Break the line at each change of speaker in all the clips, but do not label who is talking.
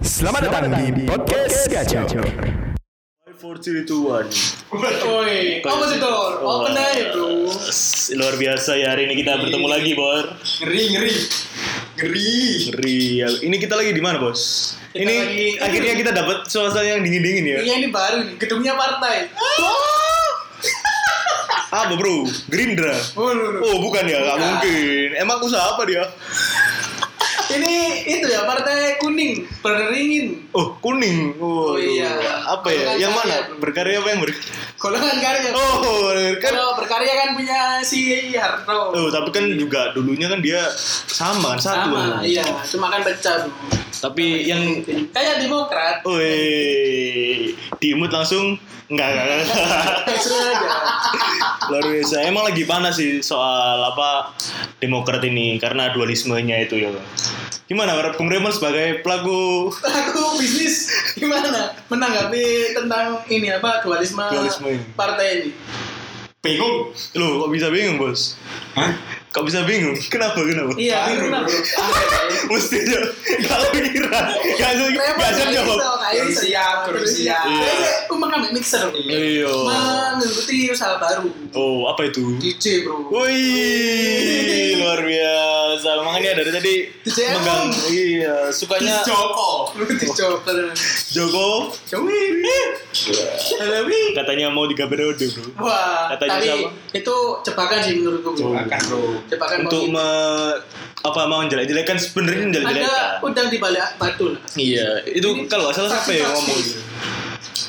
Selamat datang di podcast Gacor.
54321
Woi, apa sih Tor? Apa nih bro?
Luar biasa ya hari ini kita bertemu lagi Bor
Ngeri, ngeri Ngeri
Ngeri ya. Ini kita lagi di mana bos?
Kita
ini
lagi-
akhirnya kita dapat suasana yang dingin-dingin ya
Iya ini baru nih, gedungnya partai
Apa bro? Gerindra?
Oh, lu, lu.
Oh bukan ya, gak
Bukan.
mungkin Emang usaha apa dia?
Ini itu ya, partai kuning Berringin
Oh kuning Oh,
Oh, iya.
Apa ya?
Golongan
Yang mana?
karya, bro.
Berkarya apa yang berkarya?
Golongan karya
Oh kan
Kalau berkarya kan punya si Harto
Oh, tapi kan juga dulunya kan dia sama Iya. kan satu.
Sama, iya Cuma kan pecah bro
Tapi yang Oh, iya.
Kayak demokrat
Woi, diimut langsung enggak enggak. enggak.
Seru aja
Luar biasa. Emang lagi panas sih soal apa Demokrat ini karena dualismenya itu ya. Bang. Gimana Bung Remal sebagai pelaku
Aku bisnis gimana menanggapi tentang ini apa dualisme,
Dualisme ini.
partai ini?
Bingung?
Loh, kok bisa bingung, Bos?
Hah?
Kok bisa bingung? Kenapa? Kenapa?
Iya,
Baru,
benar.
bro.
Mesti aja enggak kepikiran. Enggak usah enggak usah
gitu.
jawab.
Rusia, ya.
Rusia.
Aku makan mixer.
Iya.
Mengikuti usaha baru. Oh.
Oh, apa itu?
DJ bro.
Wih, luar biasa. Makanya dari tadi
DJ
megang
Emon.
iya,
Tis
sukanya
Joko.
Mengikuti Joker.
Joko
Jowi. Jowi.
katanya mau tiga periode, Bro.
Wah,
Katanya
tapi
siapa?
itu jebakan sih menurutku. bro.
Makan bro.
Jebakan
Untuk
positif.
me, apa mau menjelek-jelekan sebenarnya kan? menjelek-jelekan.
ada udang di balik batu lah.
Iya, itu kalau nggak salah siapa ya yang ngomong? gitu?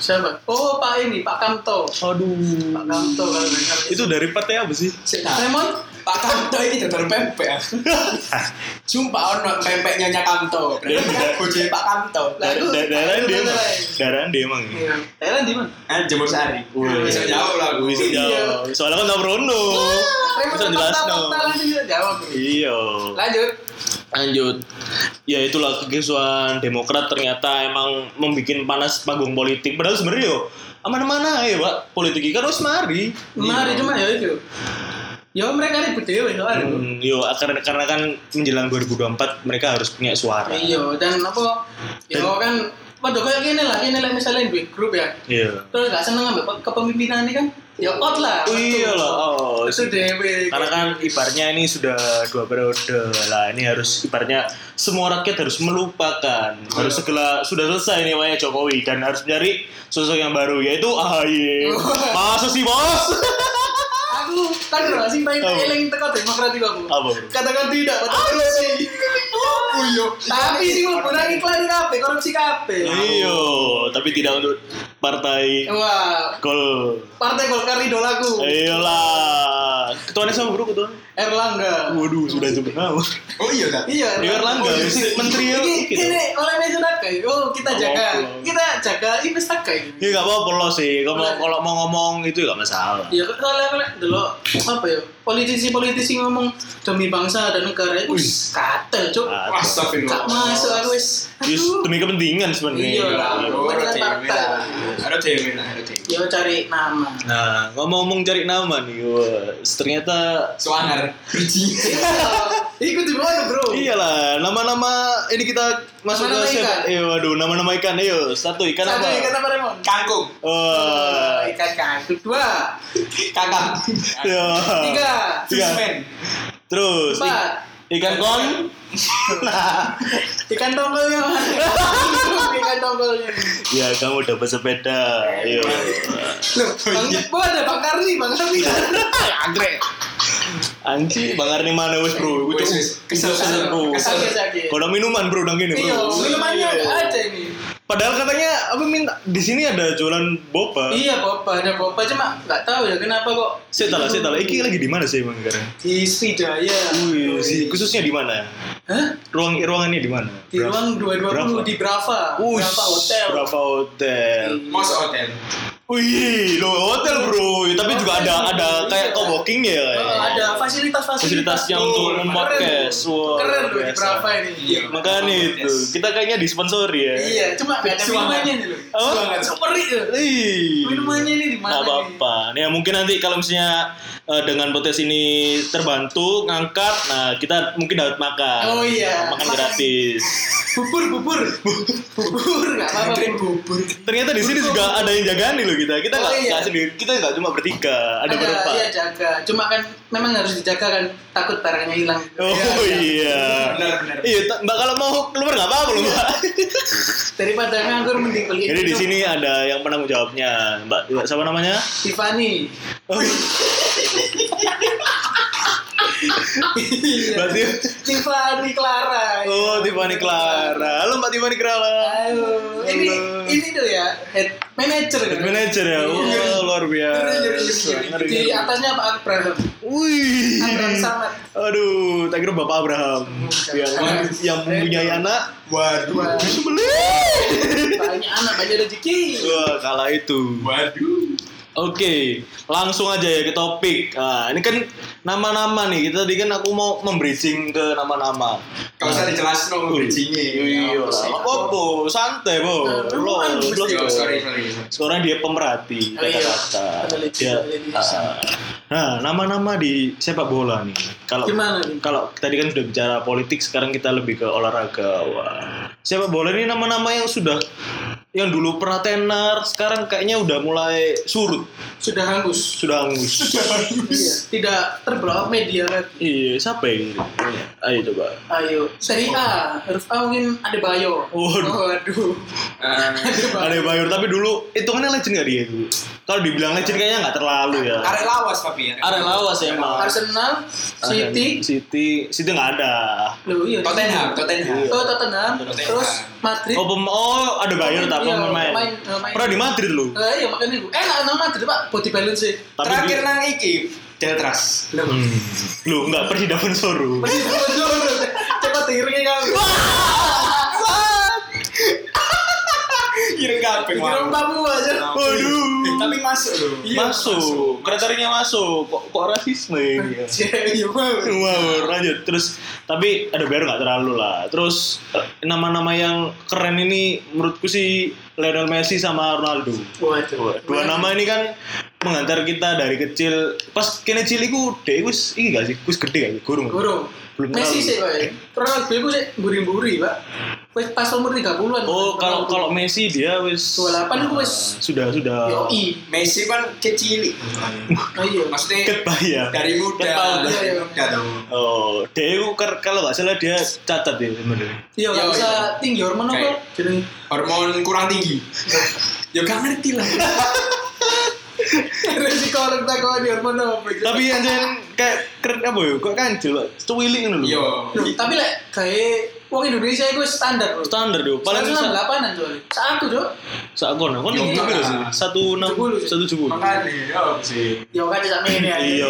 Siapa? Oh, Pak ini, Pak Kamto.
Aduh.
Pak Kamto kalau dengar.
Itu dari partai apa sih?
Raymond
Pak Kanto ini dadar pempek. ah. Sumpah ono pempek nyonya Kanto. Berarti kan bojone Pak Kanto.
Lah, Nah, itu-
Da- Daerah dia
itu
emang.
daerah.
Daerah dia emang. ya?
Iya. Thailand di mana?
Ah, Jemur Sari.
Wih.
Bisa jauh lah Iya. gue.
Iya.
Bisa jawab. Soalnya kan nomor uno.
Raymond
Bisa jelas
fakta-
no.
fakta langsung kita jawab. bro.
Iya.
Lanjut.
Lanjut. Ya itulah kegesuan Demokrat ternyata emang membuat panas panggung politik. Padahal sebenarnya yo aman-aman aja, Pak. Politik ini kan harus mari.
Mari cuma ya itu. Ya kan? mereka ribut dewe soalnya. bro.
Hmm, yo karena, karena kan menjelang 2024 mereka harus punya suara.
Iya, dan apa? Ya kan Waduh kayak gini lah, ini lah misalnya duit grup ya
Iya.
Terus gak seneng ambil kepemimpinan ini kan Ya out lah
Oh, iya
Betul.
lah, out.
Itu dewe
Karena kan ibarnya ini sudah dua periode lah. Ini harus ibarnya semua rakyat harus melupakan. Harus segera sudah selesai nih wayang Jokowi dan harus mencari sosok yang baru yaitu AHY. Masa sih bos?
Aku kan gak sih pengen
Apa?
eling teko demokratik aku
Apa?
Katakan tidak, padahal korupsi
Oh iya.
Tapi sih mau kurang iklan di kape, korupsi kape
Iyo, Iya, tapi tidak untuk partai
Wah,
Gol.
partai Golkar idolaku
Iya. Ayolah. Ketuanya sama bro ketuanya.
Erlangga
Waduh, sudah sebenarnya.
Oh iya dah.
Iya,
Di Erlangga,
Oh, iya.
mesti menteri ya,
Ini,
gitu.
ini oleh Meja Nakai. Oh, kita
Oh,
jaga,
oh.
kita jaga investakai.
Ya nggak apa-apa lo sih. Kalau mau- kalau mau ngomong itu nggak masalah.
Ya kalau kalau dulu apa ya politisi-politisi ngomong demi bangsa dan negara itu katel cuk.
Ah,
Gak
Astagfirullah.
masuk aku wis.
Yes,
Aduh.
demi kepentingan
Iya
sebenarnya.
lah.
Oh, ada dewe lah. Ada dewe lah, ada dewe.
Ya cari nama.
Nah, ngomong-ngomong cari nama nih, wah, ternyata
Suanar. Biji.
Ikut di mana, Bro?
Iya, iyalah nama-nama ini kita masuk
Nama-nama
ke
ikan.
Eh, wadukan nama-nama ikan. Ayo, satu ikan
Satu
apa? Eh,
ikan apa Raymond?
Kangkung.
Wah,
Ikan kangkung. Dua.
Kakak.
ya.
Tiga.
Tiga.
Fishman.
Terus i-
Empat.
ikan kon. Nah,
Ikan tongkolnya. Mas. Ikan tongkolnya.
ya, kamu dapat sepeda. Ayo.
Loh,
Oh,
Bang,
iya.
gua ada Bang Karni, Bang Karni.
Andre. Anji, Bang Arni mana wes bro? Gua
Wes,
cukup-
wes. Kesel,
kesel,
kesel,
bro.
kesel.
Sakit, sakit.
Kalau minuman bro, Iya. udah gini
Iya,
bro.
minumannya nggak ada ini.
Padahal katanya apa minta di sini ada jualan boba.
Iya, Boba, ada Boba cuma nggak tahu ya kenapa kok
Saya tahu, saya tahu. Iki lagi di mana sih emang sekarang?
di Spidaya.
Wih, si- khususnya di mana?
Hah?
Ruang ruangannya di mana?
Di ruang 220
Brava.
di Brava.
Ush,
Brava Hotel. Iya.
Brava Hotel.
Mas Hotel.
Wih, lo hotel bro, tapi juga ada ada kayak
Iya.
co-working ya.
Oh, ada fasilitas-fasilitas.
Fasilitas yang
Tuh,
untuk
keren.
mempodcast. Wah,
Keren loh di
Oh, biasa.
Brava ini.
Iya.
Makanya itu, kita kayaknya disponsori ya.
Iya, cuma nggak ada
Suangan.
minumannya nih loh.
Apa?
Suangan seperik loh.
Ih.
Minumannya ini di
Oh.
mana?
Iya. Nggak apa-apa. Ya mungkin nanti kalau misalnya eh, dengan potes ini terbantu ngangkat, nah kita mungkin dapat makan.
Oh, iya.
Makan
Makan.
gratis.
bubur bubur bubur nggak apa-apa
Kirim bubur.
Ternyata di sini juga ada yang jagaan nih loh kita. Kita
Oh,
nggak
iya.
nggak sendiri, kita nggak cuma bertiga, ada, berapa?
iya jaga cuma kan memang harus dijaga kan takut barangnya hilang
Oh iya.
Benar, benar.
Iya, ta- Mbak kalau mau keluar nggak apa-apa loh, Mbak.
daripada nganggur mending beli
Jadi di
itu.
sini ada yang penanggung jawabnya, Mbak. Mbak, Siapa namanya? Oh, iya.
Tiffany
Mbak Tiff-
Tiffany Clara
Oh, Tiffany Clara. Halo Mbak Tiffany Clara.
Aduh, ini
Halo.
ini tuh ya head manager
Head
kan?
manager ya.
Iya.
Wah, luar biasa. Ngeri,
Di
ngeri.
atasnya Pak Abraham.
Wih.
Abraham Samad.
Aduh, tak kira Bapak Abraham yang
Iya.
yang mempunyai anak
Waduh.
Wah,
disembelih.
banyak anak banyak rezeki.
Wah, kala itu.
Waduh.
Oke, langsung aja ya ke topik. Nah, ini kan nama-nama nih. Kita tadi kan aku mau membridging ke nama-nama.
Kalau usah dijelasin dong bridgingnya.
Iya, apa santai, Bo.
Nah,
Lo,
kan
lo-
mesti-
Oh, sorry, sorry.
Seorang dia pemerhati
Oh, iya.
kata-kata.
Analisis,
Dia-
analisis.
Ah. Nah, nama-nama di sepak bola nih. Kalau
Gimana nih?
kalau tadi kan sudah bicara politik, sekarang kita lebih ke olahraga. Wah. Sepak bola ini nama-nama yang sudah yang dulu pernah tenar, sekarang kayaknya udah mulai surut,
Sudah hangus.
sudah hangus.
Iya, tidak terbelok media lagi.
iya, siapa yang ini? Ayo coba.
Ayo, seri A, huruf A mungkin ada Bayo. Oh,
Waduh.
Waduh.
Eh,
Ada yang Bayur, tapi dulu hitungannya legend gak dia itu? Kalau dibilang legend kayaknya nggak terlalu ya.
Arek lawas tapi ya.
Arek lawas emang.
Arsenal, City,
City, City nggak ada.
loh iya.
Tottenham, Tottenham.
Oh, Tottenham, terus Madrid.
Oh, pem- oh ada Bayern tapi
Iya,
pemain.
pemain- pemain.
Pernah di Madrid lu.
Eh, iya makanya gue. Eh, nggak, nama Madrid, Pak. Body balance sih.
Tapi
Terakhir
di,
nang iki Deltras.
Loh.
lu enggak Persida Bonsoro.
Cepat dengerin kamu.
Kira kabeh.
Kira kamu aja.
Waduh. Iya,
Eh, Tapi masuk loh.
Iya,
masuk, kriteria masuk. Kok kok rasisme ini ya?
Iya, Bang.
Wow, lanjut. Terus tapi ada Bayern nggak terlalu lah. Terus eh, nama-nama yang keren ini menurutku sih Lionel Messi sama Ronaldo.
Waduh.
Dua nama ini kan mengantar kita dari kecil. Pas kene ciliku, dek wis iki gak sih? Wis gede gak sih? Gurung.
Guru.
Belum
Messi
tahu.
sih kok. ya. Ronaldo itu sih buri-buri, Pak. Wes pas umur 30-an.
Oh, kalau kalau Messi dia wis
28 itu wes
sudah sudah
yoi.
Messi kan kecil.
Oh iya.
Maksudnya
kebayang.
dari
Ket tahun.
muda. Iya, Dari muda tuh.
Oh, dia itu ker- kalau nggak salah dia catat ya sebenarnya.
Iya, nggak
Iya,
bisa
iya.
tinggi hormon apa?
Kayak-
Jadi
Hormon kurang tinggi. ya gak ngerti lah.
resiko orang tak kau hormon apa?
Tapi anjir kayak keren apa ya? Kok kancil, Pak? Cuwili ngono lho.
Iya.
Yo.
Loh, tapi lek kayak wong Indonesia itu standar loh.
Standar yo. Paling
Paling
sa-
98 an coy. Satu, Cok.
sakon. Kon
Yo,
tinggi
Pak.
piro sih? 160 170.
70 sih.
Makanya ya apa sih.
Ya kan sama ini. ya.
Iya.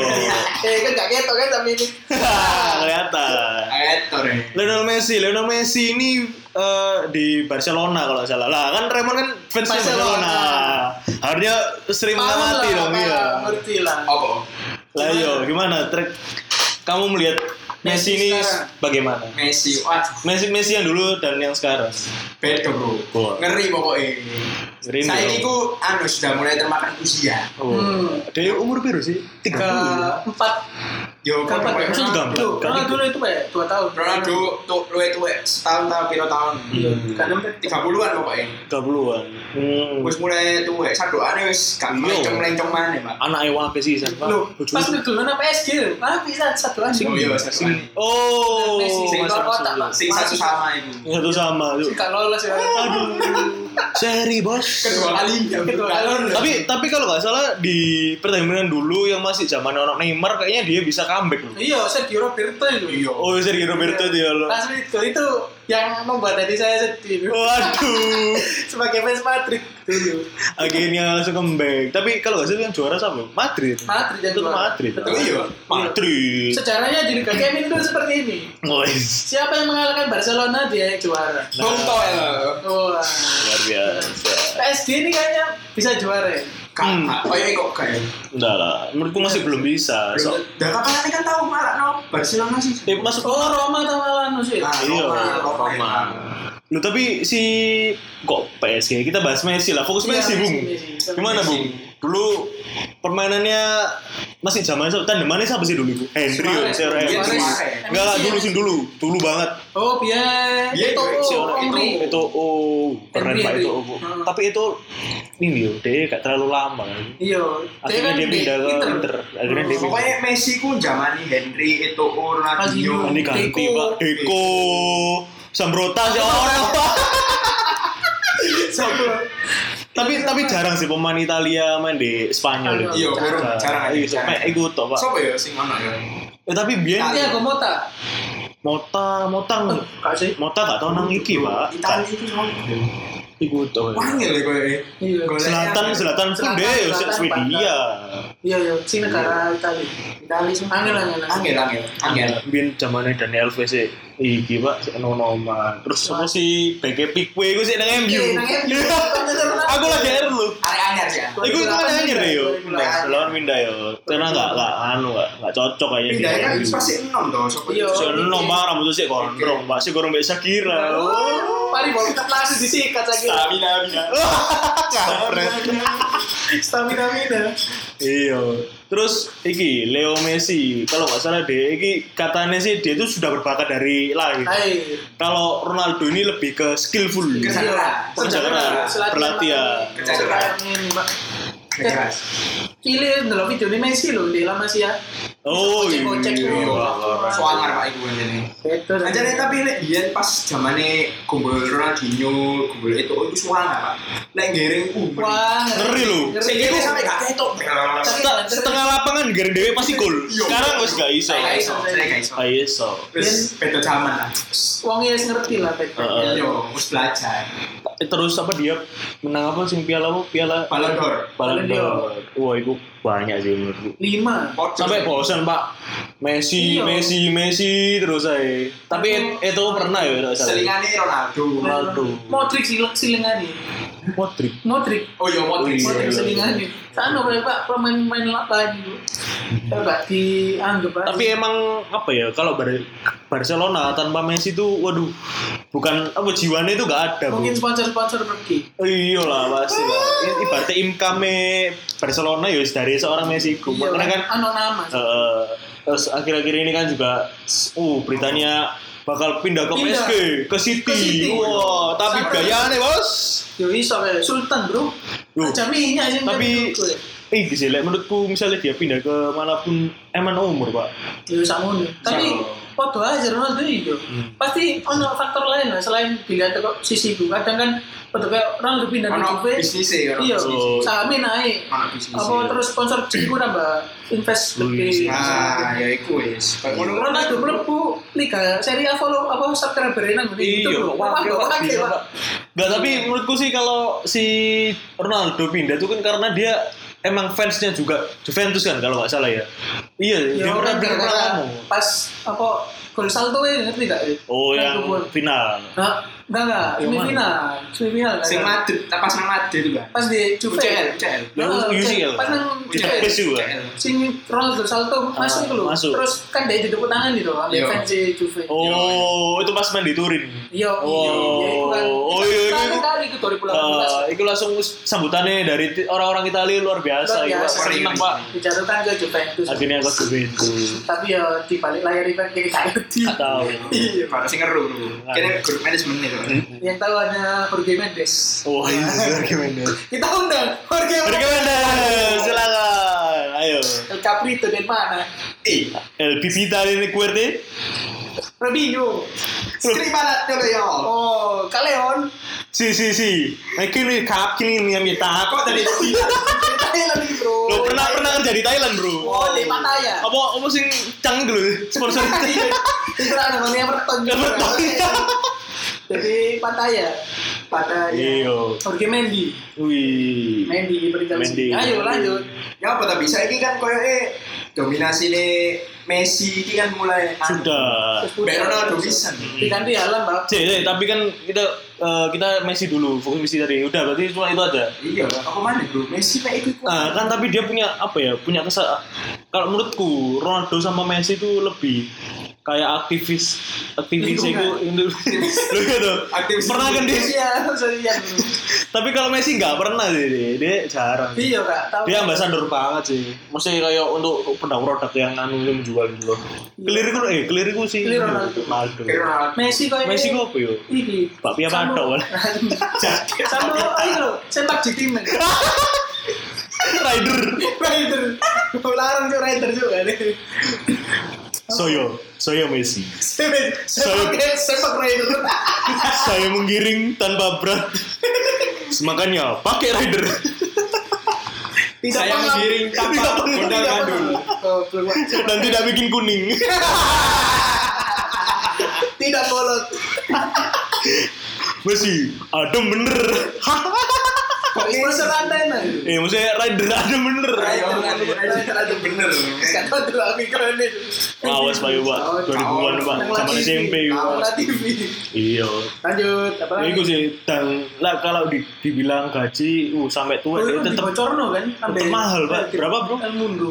Eh kan gak ketok kan sama ini.
Hahaha, Kelihatan.
Etor ya.
Lionel Messi, Lionel Messi ini eh, di Barcelona kalau nggak salah. Lah kan Raymond kan fans Barcelona.
Barcelona.
Harusnya sering
Paham
mengamati
lah,
dong
paham,
ya.
Ngerti lah.
Oh.
Apa?
Lah yo, gimana trek kamu melihat Messi ini
Messi sekarang.
bagaimana?
Messi. Waduh.
Messi Messi yang dulu dan yang sekarang.
Beda bro.
Wah.
Ngeri pokoknya.
Ngeri,
Saya
bro.
ini ku anu sudah mulai termakan usia.
Oh.
Hmm.
Dia umur biru sih?
Ke empat
Yo,
Kapan ya?
pokoknya-
Maksudnya gambar.
Tuh, Karena
Gambar.
dulu itu kayak dua tahun.
Ronaldo tuh luwe tuwe setahun tahun piro tahun.
Hmm.
Kadang kan
Tiga puluhan pokoknya.
30-an. Hmm.
Wis mulai tuwe sanduane wis gak
Iya.
melencong melencong mana pak.
Anak ewa ke sih, San.
Loh,
Bojoku.
pas kegelan apa SG? Mana bisa satu anjing?
Oh iya sanduane.
Oh,
Messi, sing
Mas
keluar
Ramsu.
kotak, Pak.
Sing satu sama itu.
Satu sama. yuk.
Sih, Gak lolos ya.
Aduh. Seri, Bos.
Kedua kali ya.
Kedua kali.
tapi tapi kalau nggak salah di pertandingan dulu yang masih zaman orang Neymar kayaknya dia bisa comeback loh.
Iya, Sergio Roberto itu.
Iya.
Oh Sergio Roberto dia loh.
Pas itu itu yang membuat hati saya sedih.
Oh. Waduh,
Sebagai fans Madrid dulu.
akhirnya langsung comeback. Tapi kalau nggak salah yang juara siapa? Madrid.
Madrid yang
Itu
juara.
Madrid.
Betul.
Oh iya.
Madrid.
Sejarahnya di Liga Champions itu seperti ini.
Wes,
Siapa yang mengalahkan Barcelona dia yang juara.
Nah.
Bung Toel.
Wah.
luar biasa.
PSG ini kayaknya bisa juara ya.
Hmm.
Kakak. Oh iya kok kayak.
Enggak lah, menurutku
Iya,
masih belum bisa. So,
Dan kapan nanti kan tahu malah no Barcelona sih.
eh, masuk
Oh, Roma sama Lanus ya.
Ah,
Iya,
Roma,
Roma.
Roma.
Lu tapi si kok PSG kita bahas Messi lah. Fokus
Iya,
Messi, Bung.
Messi, Messi.
Gimana,
Messi.
Bung? Dulu permainannya masih zaman itu tandemannya siapa sih dulu? Henry,
Suarez.
Sir Henry.
Suarez.
Enggak lah, dulu sih dulu, dulu banget.
Oh, biar
Iya,
itu
si
oh,
Orang
Henry.
itu itu oh keren
Henry,
pak
Henry.
itu. oh.
Heeh.
Tapi itu ini yo, dia gak terlalu lama kan.
Iya,
Akhirnya dia
di
pindah ke
Inter.
Inter. Akhirnya dia pindah.
Pokoknya Messi ku zamani Henry itu Ronaldinho.
Ini kan. ganti
Deco.
pak Deko Sambrotas ya orang pak Tapi tapi jarang sih pemain Italia main di Spanyol
Jarang.
Iya, baru jarang aja.
Iya, sampai
jarang.
iku tok, Pak.
Siapa ya sing ono ya?
Eh, tapi biyen
Iya, Gomota.
Mota, Motang.
Kak sih.
Mota gak tau nang iki, Pak.
Italia itu cuma
Iku tok.
panggil ya kowe.
Iya.
Golek.
Selatan, selatan pun
Selatan,
deh,
selatan,
Swedia.
Iya, iya, si negara Itali. Itali sih angel angel.
Angel angel angel.
Biyen zamane Daniel Alves sih. Iki, Pak, sik nonoman. Terus apa sih BK Pikwe iku sik nang MU.
Iya, nang MU.
Aku lagi air lu.
Arek angel sih. ya?
Iku itu kan anjir yo.
Pindah.
Lawan pindah yo. Karena enggak enggak anu enggak enggak cocok aja.
Pindahnya kan pasti enam toh. siapa
Iya.
itu?
Soalnya nomor rambut sih gondrong, Pak. Sih gorong bisa kira. Oh.
Paling baru kita langsung disikat lagi.
Stamina bina.
kan.
Stamina mina.
Iya. Terus iki Leo Messi, kalau nggak salah dia iki katanya sih dia itu sudah berbakat dari lahir.
Hai.
Kalau Ronaldo ini lebih ke skillful.
Kesadaran.
Perjalanan, berlatihan.
Perjalanan ini, Mbak.
Kejelas.
Cile ndelok video ini Messi lho, dia lama sih ya.
Oh iya.
Kocek-kocek dulu.
Suangar pak iku ini.
Betul.
Anjir ya, tapi lek biyen pas zamane kumpul Ronaldinho, kumpul itu oh, itu suara Pak. Lek ngiring uh.
Wah,
Ngeri lu.
Sing
Ngeri
iki
lu.
sampe gak ketok.
Setengah, setengah lapangan gara dewe pasti gol. Sekarang wis gak iso.
Saya iso, saya Iya. gak iso.
Gak iso.
Wis beda zaman lah.
Wongnya wis iya ngerti lah, Bet.
Heeh.
Yo, wis belajar.
terus apa dia menang apa sing piala apa piala
Ballon d'Or.
Ballon
Ballon d'Or.
d'Or. Wah, itu banyak sih menurutku.
Lima.
Sampai bosan Pak. Messi,
Iya.
Messi, Messi terus aja. Tapi it- itu pernah ya kalau salah.
selingane Ronaldo.
Ronaldo.
Modric sileng silengani.
Modric.
Modric.
Oh iya Modric.
Oh, iya.
Modric silengani. Sana boleh pak pemain-pemain lapangan itu. Kalau nggak dianggap aja.
Tapi emang apa ya kalau Bar- Barcelona tanpa Messi itu waduh bukan apa jiwanya itu gak ada. iya, Bu.
mungkin sponsor-sponsor pergi.
Iya lah pasti lah. I- Ibaratnya income Barcelona ya wis dari seorang Messi ku.
Iya,
Makanya kan
ano nama.
eh, terus akhir-akhir ini kan juga uh beritanya bakal pindah ke
Pindah.
PSG ke City.
Ke City.
Wah, tapi
Sama.
gayane, Bos.
Yo iso kayak Sultan bro.
Loh,
Aja minyak sih.
tapi-
menurutku, ya.
Eh, sih, like, menurutku misalnya dia pindah ke manapun emang umur, Pak.
Yo sakmono. Tapi
Iya.
podo aja Ronaldo itu.
Hmm.
Pasti ono faktor lain lah selain dilihat teko sisi itu. Kadang kan podo kayak Ronaldo pindah ke
Ono
Juve.
bisnis e
Iya,
Oh.
sahamnya naik.
Ono bisnis.
Apa
iya.
terus sponsor jiku nambah invest
Hmm,
lebih.
Nah, ya iku wis. Kayak
Iya.
ngono kan
Ronaldo mlebu liga Serie A follow apa subscriber nang ngene
Iya,
Wah,
wakil,
wah,
wakil,
wah.
Pak. Nggak, tapi menurutku sih kalau si Ronaldo pindah tuh kan karena dia emang fansnya juga Juventus kan kalau nggak salah ya. Iya,
Ya
dia pernah
orang
bilang pernah
gara-gara
kamu.
pas apa gol salto ya ngerti gak? ya?
Oh,
Kan
yang
gol.
final.
Nah, enggak enggak,
Yang mana?
semifinal, semifinal.
sing
kan?
Madrid, pas nang Madrid itu, Pak.
Pas di Juve.
UCL, UCL.
Ya,
Nah,
UCL.
Pas nang Juve.
Ditepis juga.
sing Ronaldo salto masuk itu lho.
Ah, masuk.
Terus kan dia duduk tangan gitu kan,
Iya.
fans Juve.
Oh, itu pas main di Turin.
Iya, iya, iya, itu kan.
Oh, iya, iya,
Pertama
iya.
kali itu
Eh,
2018.
itu langsung sambutannya dari ti- orang-orang Italia luar biasa.
Luar
Luar
biasa.
Seneng pak.
Dijatuhkan ke Juventus.
Akhirnya aku Juventus.
Tapi ya di balik layar gitu. itu kita nggak ngerti.
Nggak tahu.
Iya.
Kalau sing ngeru.
Nah.
Kene grup manajemen itu.
Hmm.
Yang tahu hanya Jorge Mendes.
Oh, itu Jorge Mendes.
Kita undang Jorge
Jorge
Mendes.
Mendes, silakan. Ayo.
El Caprito dari mana?
Eh,
El Pipita del Cuerte.
Robinho.
skribalat dulu ya.
Oh, Kaleon.
Si, si, si. Ini kap kini yang kita.
Kok tadi
Thailand nih, bro.
Lo pernah pernah kerja di Thailand bro.
Oh, di Pattaya. Iya.
Apa apa sing cang dulu sponsor.
Itu lah namanya Everton.
Everton.
Iya. Jadi Pattaya. Pattaya.
Iya.
Jorge Mendy.
Wih.
Mendy diberikan
Mendy.
sini. Ayo lanjut.
Ya apa tapi saya kan koyoke dominasi Messi ini kan mulai
Sudah.
Mbak Ronaldo bisa.
Diganti Haaland, Pak.
Cek, cek, tapi kan kita eh, kita Messi dulu, fokus Messi tadi. Udah, berarti cuma itu aja.
Iya, aku mana bro? Messi mek iku.
Nah, kan tapi dia punya apa ya? Punya kesal. Kalau menurutku Ronaldo sama Messi itu lebih kayak aktivis aktivis itu lu gitu
Aktivis
pernah kan dia
Iya, iya.
tapi kalau Messi nggak pernah sih dia, dia jarang
Iya, Kak. Tahu.
dia ambassador banget sih mesti kayak untuk produk-produk yang anu yang jual gitu loh clear ku eh clear ku sih
Clear
Ronaldo
Kayak Ronaldo.
Messi kok
Messi ku apa ya? yo
Iki.
Bakpia
Sama-
patok, kan?
Sama ayo lho, sepak di tim.
Rider
Rider. Larang tuh rider juga nih.
Soyo Soyo Messi
Sepak
Sepak-
sepak rider.
saya menggiring tanpa berat semakannya pakai rider
Tidak
Saya
pengap-
menggiring tanpa
tidak pengap-
gondang
tidak
gandul.
pengap- Oh, keluar.
dan tidak bikin kuning
Tidak bolot.
Messi adem bener
Kok ini serantai nah.
eh maksudnya rider adem bener
kan Rider bener. Sekarang tuh aku keren itu.
awas pak Ibu, pak 2000-an pak zaman SMP Pak.
Tahu lah TV.
iya
Lanjut, apa
Ya,
lagi?
itu sih dan lah kalau di- dibilang gaji uh, sampai tua
Oh,
dia
itu
tetap
dibocorno kan? Sampai-
mahal, Pak.
sampai-
Berapa, Bro?
El Mundo.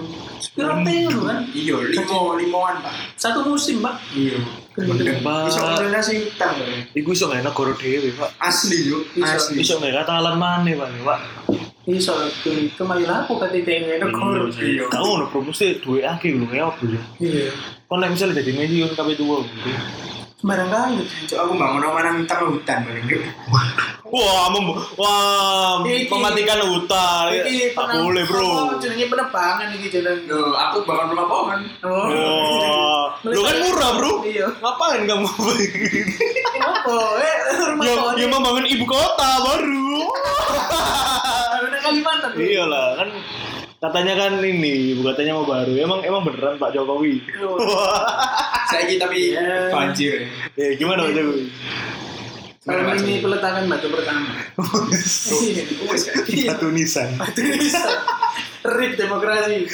Pirate itu kan?
Iya, limo limoan pak.
Satu musim, Pak.
Iya.
Gendeng.
Bisa
Pak,
koordinasi hitam Pak.
itu iso nggak enak goro dewe pak
Asli yuk.
Bisa.
Asli.
iso nggak kata alam mana pak ya, pak
Iso itu kemayu lapo kate tenge
Hmm.
no kor.
iya.
kau ngono bro mesti dua akeh lho ya apa ya
Iya.
kan lah misalnya jadi Messi kan kabeh tua bro.
Sembarang kali.
Cuk, aku bangun rumah nang hitam nang hutan Pak.
Wah, mem wah
Iki.
mematikan hutan. Ya, Ah,
Iki
iya. Tak
penang-
boleh, Bro.
apa, Oh, Jenenge penebangan iki jalan.
Loh, aku bangun rumah pohon.
Oh.
Wah, lu kan murah, Bro.
Iya.
Ngapain kamu?
Apa? Eh, rumah
ya,
pohon.
ya membangun ibu kota baru.
Ada di Kalimantan. Bro.
Iyalah, kan katanya kan ini, ibu katanya mau baru. Emang emang beneran Pak Jokowi.
Loh.
Saya ini tapi
Iya.
banjir.
eh, gimana Pak Jokowi?
Kalau ini peletakan batu pertama. Iya.
Wes, Kak.
Batu nisan.
Batu bisa. Rip demokrasi.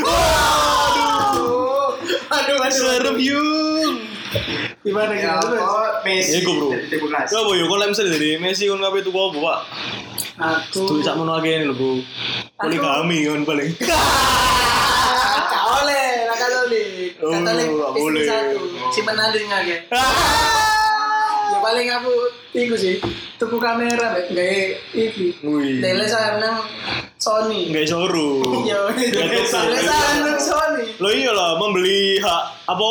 Aduh. Aduh, aduh.
Serem yuk.
Gimana
Ya,
gimana?
kok Messi.
Iku, Iya, Bro.
Demokrasi.
Ya boyo, kalau misalnya dari Messi kan kabeh tuku apa, Pak?
Aku.
Tuh sak mono akeh lho, Bu. Poligami kan paling.
Ah, Gak boleh, lah Katolik.
Oh,
Katolik
gak
istri
boleh. Oh.
satu, si penanding aja.
Ah.
Ya paling aku iku sih, tuku kamera mbak gawe iki.
Wih.
Dele nang Sony.
Iya.
Iya.
Nggak showroom.
Yo,
Nggak
dele
showroom.
nang Sony.
Lo iya lah membeli hak apa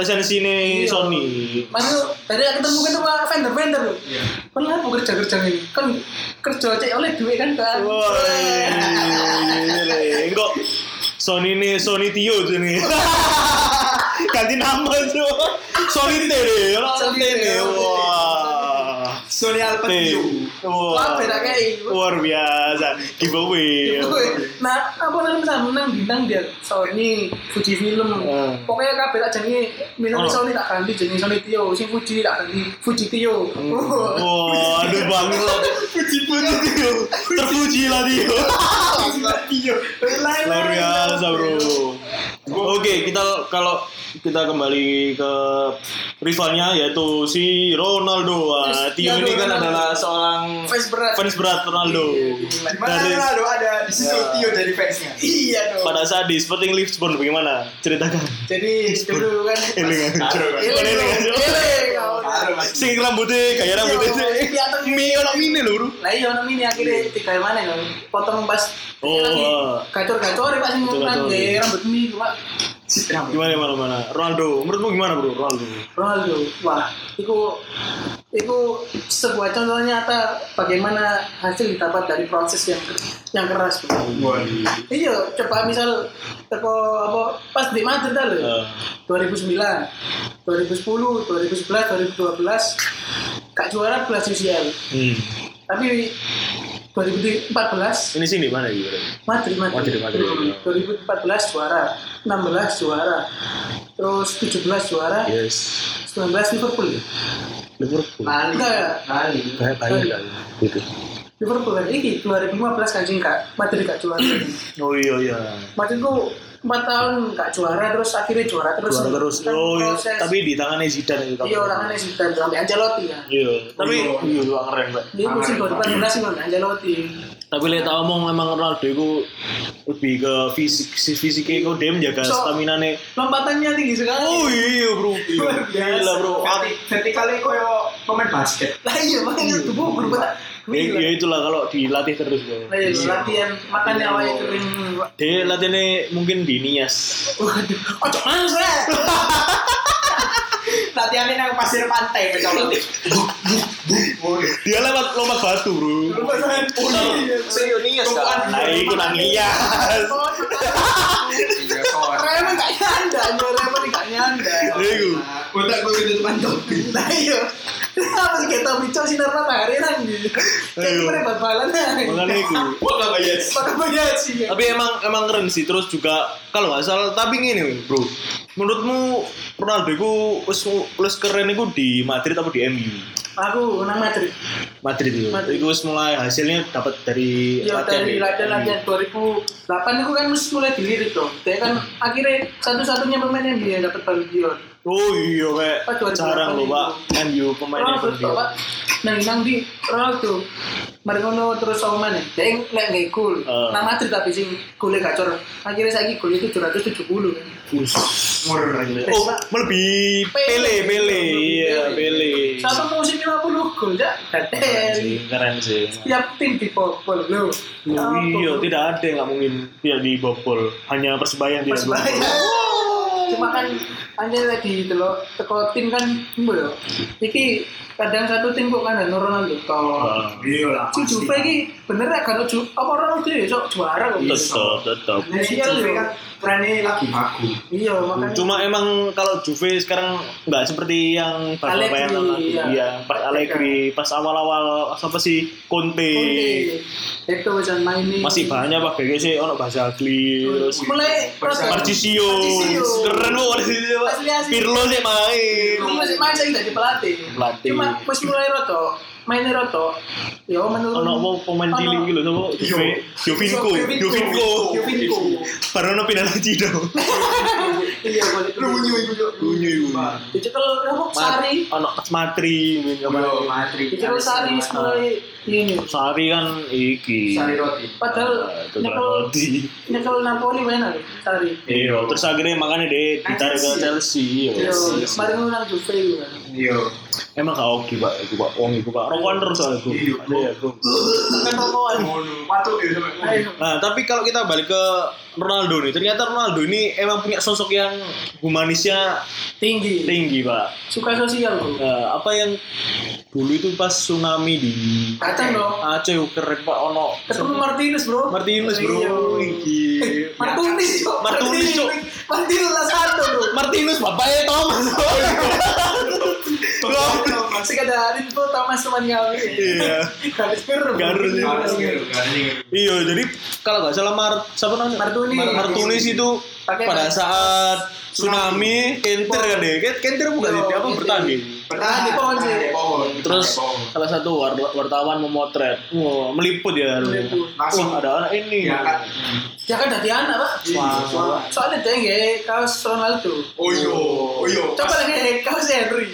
lisensi ini
Iya.
Sony.
Masuk, tadi aku ketemu kan sama vendor-vendor loh.
Iya.
Kan lah aku kerja-kerja ini. Kan kerja cek oleh duit kan kan.
Wah, ini leh. iya, Enggak Sony ini Sony Tio tuh nih. Ganti nama tuh. Sony T deh, orang
Sony
T nih.
T.
Wah.
Sony Alpha
T.
Tio.
Wah.
Wah, beda kayak gitu.
Luar biasa. Giveaway.
Nah, apa namanya bisa menang bintang dia Sony, Fuji Film.
Hmm.
Pokoknya kabeh tak jenenge bintang
Oh.
Sony tak ganti jenenge Sony Tio, sing Fuji tak ganti Fuji Tio.
Hmm.
Oh. Wah,
Wah, aduh banget. Puji puji Tio. Terpuji lah Tio.
lain-lain.
Luar biasa bro. Oke, kita kalau kita kembali ke rivalnya yaitu si Ronaldo. Wah, Tio ini kan adalah seorang
Fans berat.
fans berat Iya, Ronaldo.
Di mana
Dari
Ronaldo ada di situ Tio dari fansnya.
Iya dong.
pada saat di Sporting Lisbon bagaimana? Ceritakan.
Jadi dulu kan
Eling aja.
Eling,
Eling eh. aja.
eling,
iya.
kawan.
Baru masih.
Sing rambutnya kayak rambutnya
Iya,
sih.
iya, tenang.
Mi orang ini loh, Bro.
Lah iya nang ini akhirnya tiga yang mana kan potong pas
Hmm. Oh.
gacor-gacor Pak sing ngomong
Gacor-gacor.
nang rambut mie Pak.
Gimana gimana gimana? Ronaldo, menurutmu gimana, Bro? Ronaldo.
Ronaldo, wah, itu itu sebuah contoh nyata bagaimana hasil didapat dari proses yang yang keras. Bro. Iya, coba misal teko apa pas di Madrid dah lho.
Eh.
2009, 2010, 2011, 2012 kak juara belas UCL.
Hmm.
Tapi 2014
Ini sini mana gitu?
Madrid,
Madrid,
Madrid.
Madrid.
Hmm, 2014 juara, 16 juara, terus 17 juara,
Iya. Yes.
19 Liverpool.
Liverpool.
Bali.
Enggak, ya.
Bali.
Kayak
banyak
kan gitu. Hmm.
Liverpool kan iki 2015 kan sing kak Madrid gak juara.
Oh iya iya.
Madrid ku empat tahun nggak juara terus akhirnya juara terus.
Juara terus.
Kan
Oh, iya.
proses.
tapi di tangannya Zidane itu.
iya orangnya Zidane sampai Ancelotti ya.
Iya, tapi
Iya.
iya wah, keren, Pak.
Dia musim 2014 sih nggak Ancelotti.
Tapi lihat tak omong memang Ronaldo itu lebih ke fisik si fisiknya kok dia menjaga
So-
stamina nih.
Lompatannya tinggi sekali.
Oh iya bro, iya. gila bro.
vertikal itu kayak pemain basket
Lah iya makanya tubuh berubah.
Ya,
Gila.
ya itulah kalau dilatih terus bro.
Lah, iya, latihan makannya
Iya.
awalnya kering. Pak.
Dia latihannya mungkin di Nias.
Waduh, ojo manis lah.
Latihannya nang pasir pantai kecolot.
Dia lewat lompat batu bro.
Iya,
iya.
serius nih
Nah itu nang Nias.
iya soalnya
Remen gak nyanda, nyuruh remen gak nyanda.
Iku.
Botak gue ketutupan topi
Nah iya, apa sih kita bicara sinar matahari nanti? Jadi
Ayo.
mereka bal-balan
Makanya
nanti.
itu.
Gue gak bayar
Pakai banyak sih. ya.
Tapi emang emang keren sih terus juga kalau nggak salah tapi gini bro. Menurutmu Ronaldo itu wis wis keren itu di Madrid atau di MU?
Aku menang Madrid.
Madrid itu.
Madrid.
Itu wis mulai hasilnya dapat dari
Ya dari
ya?
latihan-latihan 2008 itu kan mesti mulai dilirik dong. Dia kan akhirnya satu-satunya pemain yang dia dapat Ballon d'Or.
Oh iya
Pas
kayak
2008
jarang loh
itu.
pak MU pemainnya Ballon
Ronaldo tuh
d'Or.
pak, nang nang di Ronaldo. Mari ngono terus sama mana? Dia nggak nggak gol.
Eh.
Nah Madrid tapi sing golnya gacor. Akhirnya saya gol itu 770 kan.
Oh melebihi Pele Pele iya Pele.
Satu musim 50 gol ya.
Keren
Dari
sih, keren sih.
setiap tim dipopol lo.
Oh, iya, tidak ada yang nggak mungkin dia dibobol. Hanya persebaya yang tidak
Persebaya.
dibobol.
Cuma kan anjir tadi itu loh, teko tim kan mbo ya. Iki kadang satu tim kok kan ada Ronaldo toh.
Ah,
Iya lah
Si Juve iki bener gak kan Ju apa Ronaldo ya sok juara kok. ya,
Tetap, tetap.
Nah, si Juve kan trennya lagi bagus
Iya, makanya
Cuma emang kalau Juve sekarang nggak seperti yang
Allegri,
bapak-bapak yang lama.
iya.
Iya, pas Allegri, pas awal-awal apa sih Conte.
Conte, itu wajan mainin.
Masih banyak pak BG sih, ono bahasa Agli, terus
Mulai proses
Marcisio,
Marchisio.
keren bu Marcisio pak.
Asli, asli.
Pirlo sih main.
Ini masih main saya jadi pelatih.
Pelatih.
Cuma pas mulai roto, mainnya roto. Ya menurut
Ono mau pemain cilik gitu, sama Juve, Jovinko, Jovinko,
Jovinko.
baru ono pindah lagi dong.
Iya, boleh.
Lu bunyi itu
Bunyi itu.
Dicekel apa? Sari.
Ono Matri, main kemarin.
Dicekel Sari wis mulai ini.
Sari kan iki.
Sari roti
Padahal
Ah, itu
nyekel
Berarti.
nyekel Napoli mana lho, Sari.
Iya, terus akhirnya makanya deh ditarik ke Chelsea.
Yo,
Iya.
mari ngono nang Juve iku kan.
Iya
Emang gak oke pak, iku pak, wong iku pak, rokokan terus soalnya iku.
Iya, Bro.
Iya, Bro.
Kan ngono Patuk ya sampe ngono.
Nah, tapi kalau kita balik ke Ronaldo nih, ternyata Ronaldo ini emang punya sosok yang humanisnya
Tinggi.
tinggi pak.
Suka sosial bro.
Eh, apa yang dulu itu pas tsunami di
Kacang dong.
Aceh keren pak ono
Ketemu Martinez bro.
Martinez
Iya. Eh,
bro, iki.
Martinez Cok.
Martinez, Cok.
Martinez lah satu bro.
Martinez bapaknya Thomas.
Oh, iya.
Bro.
Sekadar info Thomas teman kami.
Iya.
Garis biru.
Garis biru.
Harus gitu, harus gitu.
Iya, jadi kalau nggak salah Mar siapa namanya?
Martunis.
Mar- Martunis itu
Pakai
pada
Martunis.
saat tsunami, kenter kan deh. Ken- Kenter bukan
Iya,
sih, apa
gitu.
bertanding.
Bertahan di pohon sih.
Bertahan di pohon.
Terus
Bertahan di pohon.
salah satu war- wartawan memotret, wah meliput ya harusnya.
Meliput.
Langsung.
Wah, ada anak ini.
Ya kan.
Ya kan dari anak pak.
Iya,
Wah, wah.
Soalnya dia nggak kaos Ronaldo.
Oh iya, oh iya.
Coba lagi nggak kaos Henry.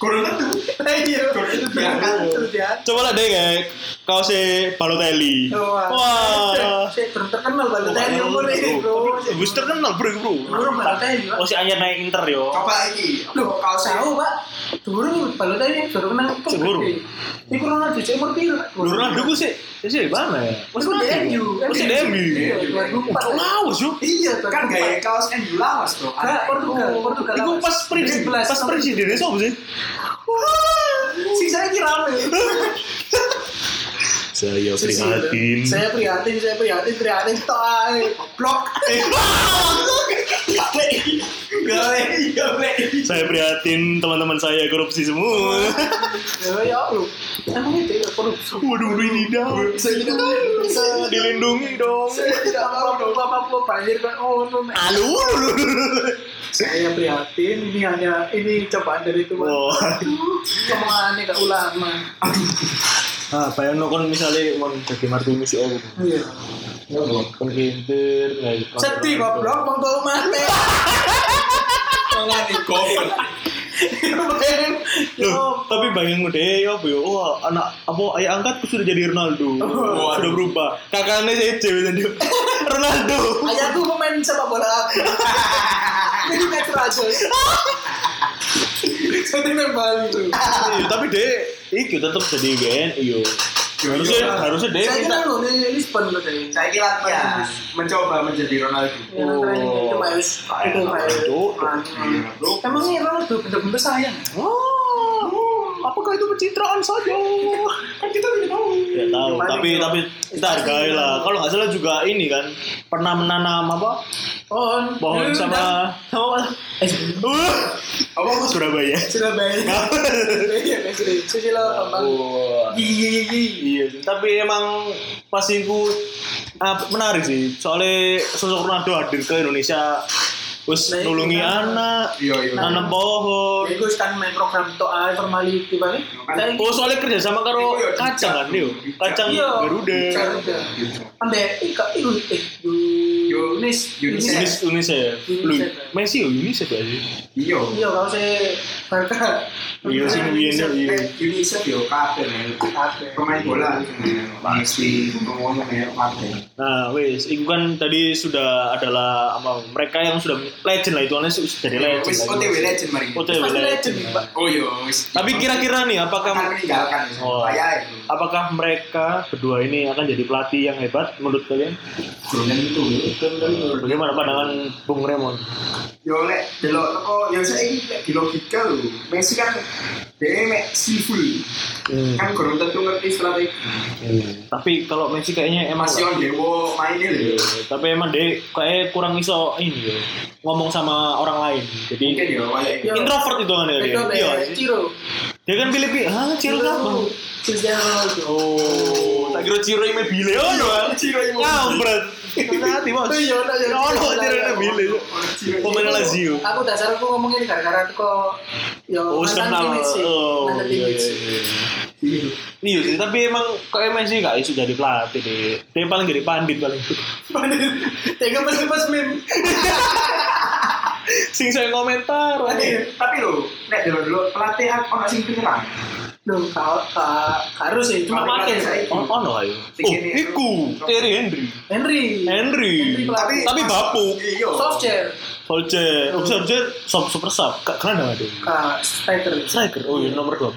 Corona tuh.
Ayo.
Corona tuh diangkat.
Terus dia.
Coba lah deh kayak kau si Balotelli. Wah.
Saya belum terkenal banget dari umur ini bro.
Wis terkenal bro bro.
Bro, Balotelli, Pak.
Oh si anyar naik Inter yo.
Coba lagi.
Loh, kau tahu pak? Turun Balotelli yang suruh menang kok
Suruh.
gede. Iku Ronaldo sih umur piro?
Lu Ronaldo ku sih, sih di mana ya?
Wes ku DMU.
Wes di DMU.
gitu. Iya, 2004.
Kok lawas yuk?
Iya,
Kan gaya kaos NU lawas tuh.
Nah, Portugal, Portugal.
Iku pas presiden, pas presidennya siapa sih?
Sisa lagi rame.
Saya
Saya prihatin, saya prihatin, prihatin tok ae. Blok.
Gawe, gawe.
Saya prihatin teman-teman saya korupsi semua.
Ya ya lu. Emang itu ya, korupsi.
Waduh, waduh, ini dah. Saya tidak tahu. Bisa dilindungi dong.
Saya tidak mau dong apa-apa banjir kan. Oh, no. no.
Alu.
Saya prihatin ini hanya ini cobaan dari Tuhan.
Wah.
Kemana ke ulama?
kan Ah, bayang no kon misalnya kon jadi Martinus si Om.
Iya.
Pengkintir,
Sedih goblok wong tuaku mati.
Ngani goblok.
Bayangin,
Loh,
yo,
tapi bayangin deh, ya bu, wah anak apa ayah angkatku sudah jadi Ronaldo,
Waduh.
sudah berubah. Kakaknya saya cewek jadi Ronaldo.
Ayahku pemain sepak bola aku. Ini metro aja. Jadi Bali tuh.
Iya, tapi deh, iki tetap jadi WNI yo. Harusnya harusnya deh
Iya, Saya
minta
kira lu ini Lisbon lu dari.
Saya kira latihan mencoba menjadi Ronaldo.
Ya,
Oh.
keren, itu Bayus.
Kayak
Itu Bayus.
itu.
Ah,
Bro.
Emang ini orang tuh bener-bener sayang.
Wah, apakah itu pencitraan saja?
Kan kita tidak tahu.
Ya tahu, tapi tapi kita hargai lah. Kalau nggak salah juga ini kan pernah menanam apa
Pohon.
pohon
Eh, udah.
sama sama Wah,
Apa aku
Surabaya.
Sudah banyak. Iya, kan, sudah. Susilo Bambang.
Wah. Iya, tapi emang pasinku ah, menarik sih. Soalnya sosok Ronaldo hadir ke Indonesia, terus
Nah, itu
nulungi
kan.
anak,
Iya, iya.
nanam pohon,
Ya, gue kan main program toa formality banget.
Kan-
Saya
Oh soalnya kerja sama karo
Iya, iya,
kacang kan yo. Kacang
Iya.
Garuda.
Garuda. Ambek ika iku eh
Iya.
Yunis
Yunis.
Unis UNICEF. Lu
UNICEF.
Messi yo UNICEF ya sih.
Iya.
Iya kalau saya Barca.
Iya sih biyen yo, iya.
Eh, Unicef yo kabeh men. Pemain bola pasti ngomong ya kabeh.
Nah, wes itu kan tadi sudah adalah apa mereka yang sudah legend lah itu aneh sudah jadi legend.
Iya, Wis
lah.
OTW legend mari.
OTW
Pasti
legend.
legend, Pak.
Oh iya wis.
Oh, Tapi kira-kira nih
akan
apakah
meninggalkan ya.
Oh.
saya itu.
apakah mereka berdua ini akan jadi pelatih yang hebat menurut kalian?
Golongan itu. ya.
Bagaimana pandangan Bung Remon?
Yo lek delok teko yo saiki lek di logika lho. Messi kan dhewe mek skillful.
Hmm.
Kan kurang tentu ngerti strategi.
Tapi kalau Messi kayaknya emang
Masih on dewo maine lho.
tapi emang deh kayak kurang iso ini yo ngomong sama orang lain jadi
Mungkin yo kayak gitu.
Yo.
introvert itu kan ya dia
Itu
iya
eh, Iya. Ciro.
dia kan pilih pilih ah ciro apa
Cristiano Ronaldo.
oh tak kira ciro ini bile oh iya
Ciro ini
ngambret nanti bos
Iya, iya, iya. Oh,
ono ciro ini bile pemain Lazio
Aku dasar aku ngomong ini gara-gara aku kok yo
oh sudah
mantan
kenal
timnas sih.
oh
Mantan
iya
timnas.
iya iya. iya sih tapi emang kok Messi gak isu jadi pelatih deh dia paling jadi pandit paling
Tega pas pas meme.
sing saya komentar
Tapi lho, nek delok dulu pelatih kan ono sing penyerang.
Duh, kau kak harus sih cuma
Mari
pakai
kita
saya.
saiki.
Oh, ono ayo.
Iya, Sing
Oh,
ini. Iya.
iku Terry Henry.
Henry.
Henry.
Tapi
Tapi bapuk.
Iya.
Softshare.
Solskjaer, oh Solskjaer sub super sub, kak keren nggak deh?
Kak striker.
Striker, oh iya nomor 20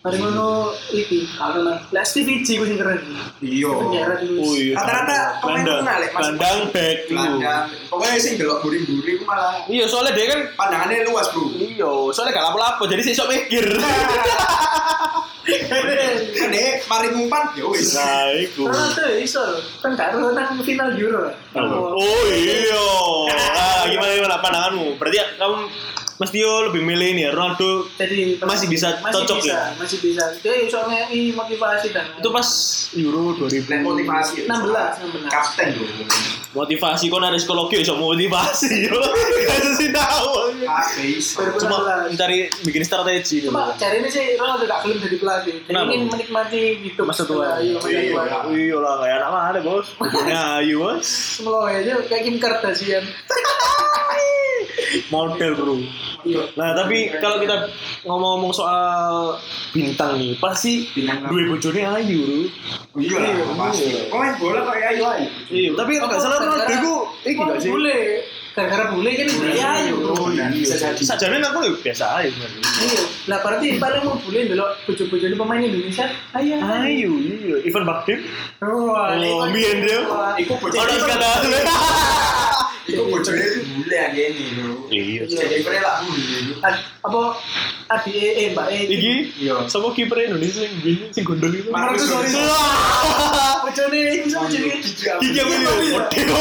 Mari ngono iki kalau nang Last TV ku sing keren.
Iya.
Penjara di
Oh iya.
Rata-rata pemain
Gelandang.
terkenal, ya, Mas.
Gelandang back lu.
Belanda. Pokoknya sing delok buri-buri ku malah
Iya soalnya dia kan,
pandangannya luas, Bro.
iya soalnya gak lapo-lapo, jadi sih sok mikir.
Kan deh mari ngumpan ya wis.
Nah, iku.
Ronaldo ya iso kan karo nang final Euro.
Oh iya. Ah, gimana gimana pandanganmu? Berarti ya, kamu mesti yo lebih milih ini ya Ronaldo.
Jadi
Masih bisa cocok
bisa,
ya?
Masih bisa. Dia iso ngei motivasi dan
Itu ya? pas Euro 2000.
Dan motivasi
16, 16.
Kapten bro.
Motivasi kon ada psikologi ya, iso motivasi yo. Kasih tahu.
Habis.
Cuma
Cuma
mencari bikin strategi.
Cuma cari ini sih Ronaldo gak gelem jadi pelatih. Dia
Kenapa?
ingin menikmati hidup
Masa tua.
Iya, masa
Iya.
tua.
Iya lah kayak anak mana bos. Nah, iya bos.
Semua aja kayak Kim Kardashian.
model bro. Nah tapi kalau kita ngomong-ngomong soal bintang nih, pasti
Bintang apa?
dua bojone ayu bro.
Oh Iya lah, pasti. Pemain bola kok ya ayo ayo.
Iya, tapi kalau nggak salah Ronaldo itu, iki
Wong
nggak sih? Iya, Oh,
Bule. Gara-gara bule kan jadi ayu.
Bro, dan bisa jadi.
Sajane aku ya biasa aja.
Iya. Lah berarti paling mau bule dulu bojo-bojone pemain Indonesia. Ayo.
Ayu, iya. Ivan Bakdim.
Wah, ini
Oh,
kan-
biyen dia.
Wah,
Iku bocah.
Orang kata.
Iku bojone bule ya ini bro.
Iya.
Jadi pre lah bule.
ad- apa adi eh eh, mbak eh
Iki,
Iya.
sama kiper Indonesia yang gini, yang gondol itu.
Marcus Llorente.
Wah.
bojone iki sama jenenge
Gigi
Iya,
apa ini? Model.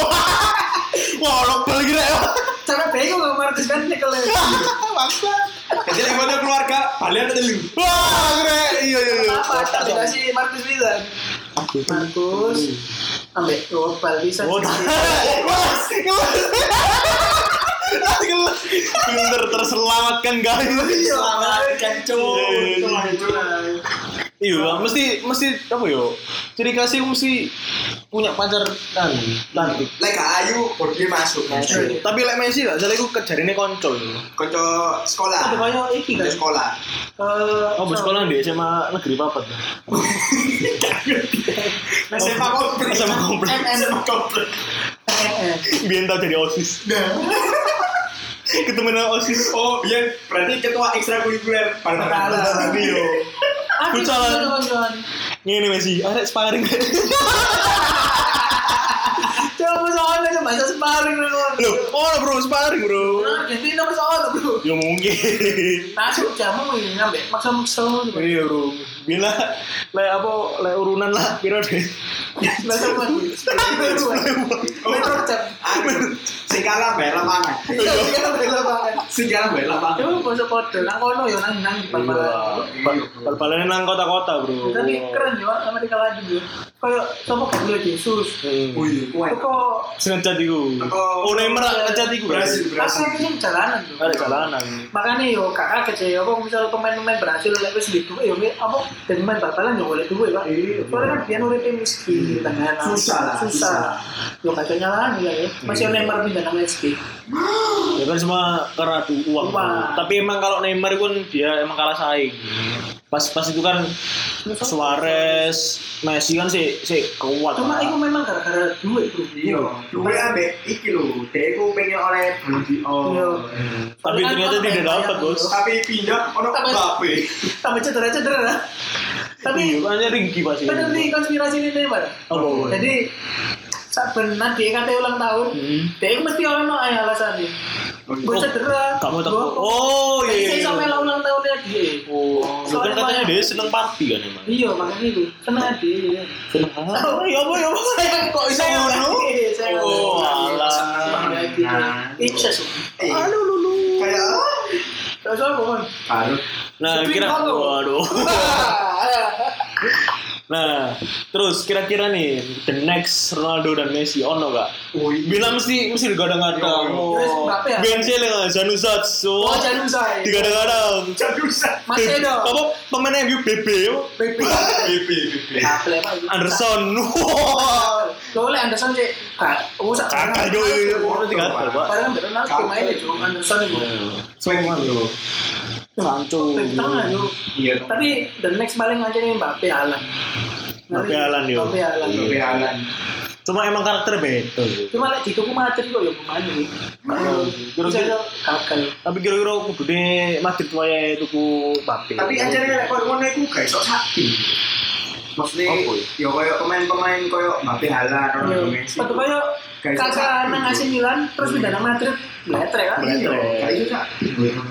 Wah, orang ya. balik rek.
cara bego nggak Marcus kan nyekel
Jadi yang ada keluarga, kalian ada lu.
Wah, rek. Iya, iya, iya.
apa tak dikasih Marcus Wilan Marcus ambek global bisa
Oh, Mas, gelas. Bener terselamatkan kan, guys.
Selamat
Selamat,
Iya, kan, Cuk.
Iya, iya,
Selamat, Cuk.
Iya, mesti mesti apa yo? Ciri khasnya mesti punya pacar kan, cantik.
Lek gak ayu, bodi masuk.
Masuk. Tapi lek Messi lah, soalnya aku kejarinnya konco. yo.
Konco
Ada
sekolah.
banyak iki
Konco
kan.
sekolah.
Eh,
Oh, bu sekolah di SMA negeri papat.
Nah, SMA komplit.
SMA komplit.
SMA komplit.
eh, eh.
Biar tau jadi osis. Ketemu dengan osis.
Oh, iya. Berarti ketua ekstrakurikuler.
Padahal.
Iya.
Aku
Futsal.
kawan-kawan.
Ini Messi, arek sparring.
Coba soalnya coba bahasa sparring lu.
Loh, oh bro sparring bro.
Orang Argentina apa soalnya bro?
Ya mungkin.
Masuk jamu ini ngambek maksa-maksa lu. bro.
Iya bro. Bila lek apa lek urunan lah piro deh. Iya.
Bahasa apa? Metro cap.
Sing kalah bayar lapangan.
Iya, iya, bela banget.
Sing kalah bayar lapangan.
Coba bahasa kode. Nang kono ya nang nang di
Iya.
bal-balan.
Bal-balannya nang kota-kota bro.
Tapi keren ya, juga Amerika lagi bro. Kayak sama Gabriel Jesus.
Hmm.
Oh, iya,
Wih, kuat.
Kok
Senencat iku.
Aku-
Oh, Neymar ngecat iku.
Berhasil, berhasil.
Masa ini jalanan ya, bro.
Ada jalanan.
Makanya yo kakak kece yo kok misalnya pemain-pemain berhasil lek wis gitu yo mi- apa dan main bal-balan yo boleh duwe Pak. Soalnya kan dia urip miskin tenan.
Susah lah,
susah. Yo kacau nyalahan ya ya. Masih Neymar pindah nang SD.
Ya kan semua keratu uang.
Uang.
Tapi emang kalau Neymar pun dia emang kalah saing. Pas-pas itu kan
Ya,
Suarez, Messi kan si si kuat.
Cuma
lah.
itu memang gara-gara duit bro.
Iya, duwe ambek iki lho, dia iku pengen oleh Budi.
Iya.
Oh.
Tapi
Soalnya kan
ternyata
orang
tidak
banyak
dapat,
yang-
Bos.
Tapi pindah, ono
Tapi-
Mbappe.
Tambah cedera-cedera. lah.
Iya,
Tapi
hanya ringki pasti.
bener nih konspirasi ini Neymar.
Iya, Oh, jadi
Jadi saat benar dia kan dia ulang tahun,
Hmm. Oh, iya.
dia itu mesti orang no ayah alasannya. Gue cedera.
kamu tak
gua-
Oh, iya. iya,
Saya sampai
iya.
lah ulang tahunnya dia.
Oh, kan
Soalnya
katanya
banyak-
dia seneng party kan emang.
Iya makanya itu kenal dia.
Seneng.
Oh iya apa iya apa saya kok bisa
Saya
ulang
ulang.
dia, saya
Oh, alah. Iya.
Ica iya. sih.
Aduh, lulu. Kayak
Terus apa kan?
Baru
Nah,
Sepin
kira
kamu.
waduh. Nah, terus kira-kira nih the next Ronaldo dan Messi ono gak?
Oh, iya.
Bila mesti mesti digadang-gadang.
Yo,
Terus Mbappe ya?
Ben Celing, Zanusatsu.
Oh jangan usai.
Digadang-gadang.
Masih
Beb-
dong.
Apa pemain MU BB?
PP.
BP, BP.
Apel apa?
Anderson. Wah.
Lo oleh Anderson cek kak. Oh sak.
Kakak yo yo, yo. orang tiga kali, Pak.
Padahal beneran aku
Kakak.
main itu Anderson itu.
Swing lho.
Sancho.
Back tengah itu.
Iya.
Tapi the next paling aja nih Mbappe Alan.
Mbappe Haaland, yo.
Mbappe Haaland.
Tapi
Iya.
Alan.
Cuma emang karakter beda.
Cuma lek dituku materi kok ya pemain iki.
Terus
Bisa
dia-
yo kakak.
Tapi kira-kira kudu deh Madrid wae tuku Mbappe.
Tapi
Iya.
ajarnya lek koyo ngono iku gak iso sakti. Maksudnya,
Apa ya?
ya koyo pemain-pemain koyo Mbappe Haaland,
Yo,
Ronaldo Messi.
Waktu kaya
Guys,
kakak nang AC Milan terus pindah nang Madrid bletrek kan.
Iya,
Bener.
gak iso sakti.
Iya.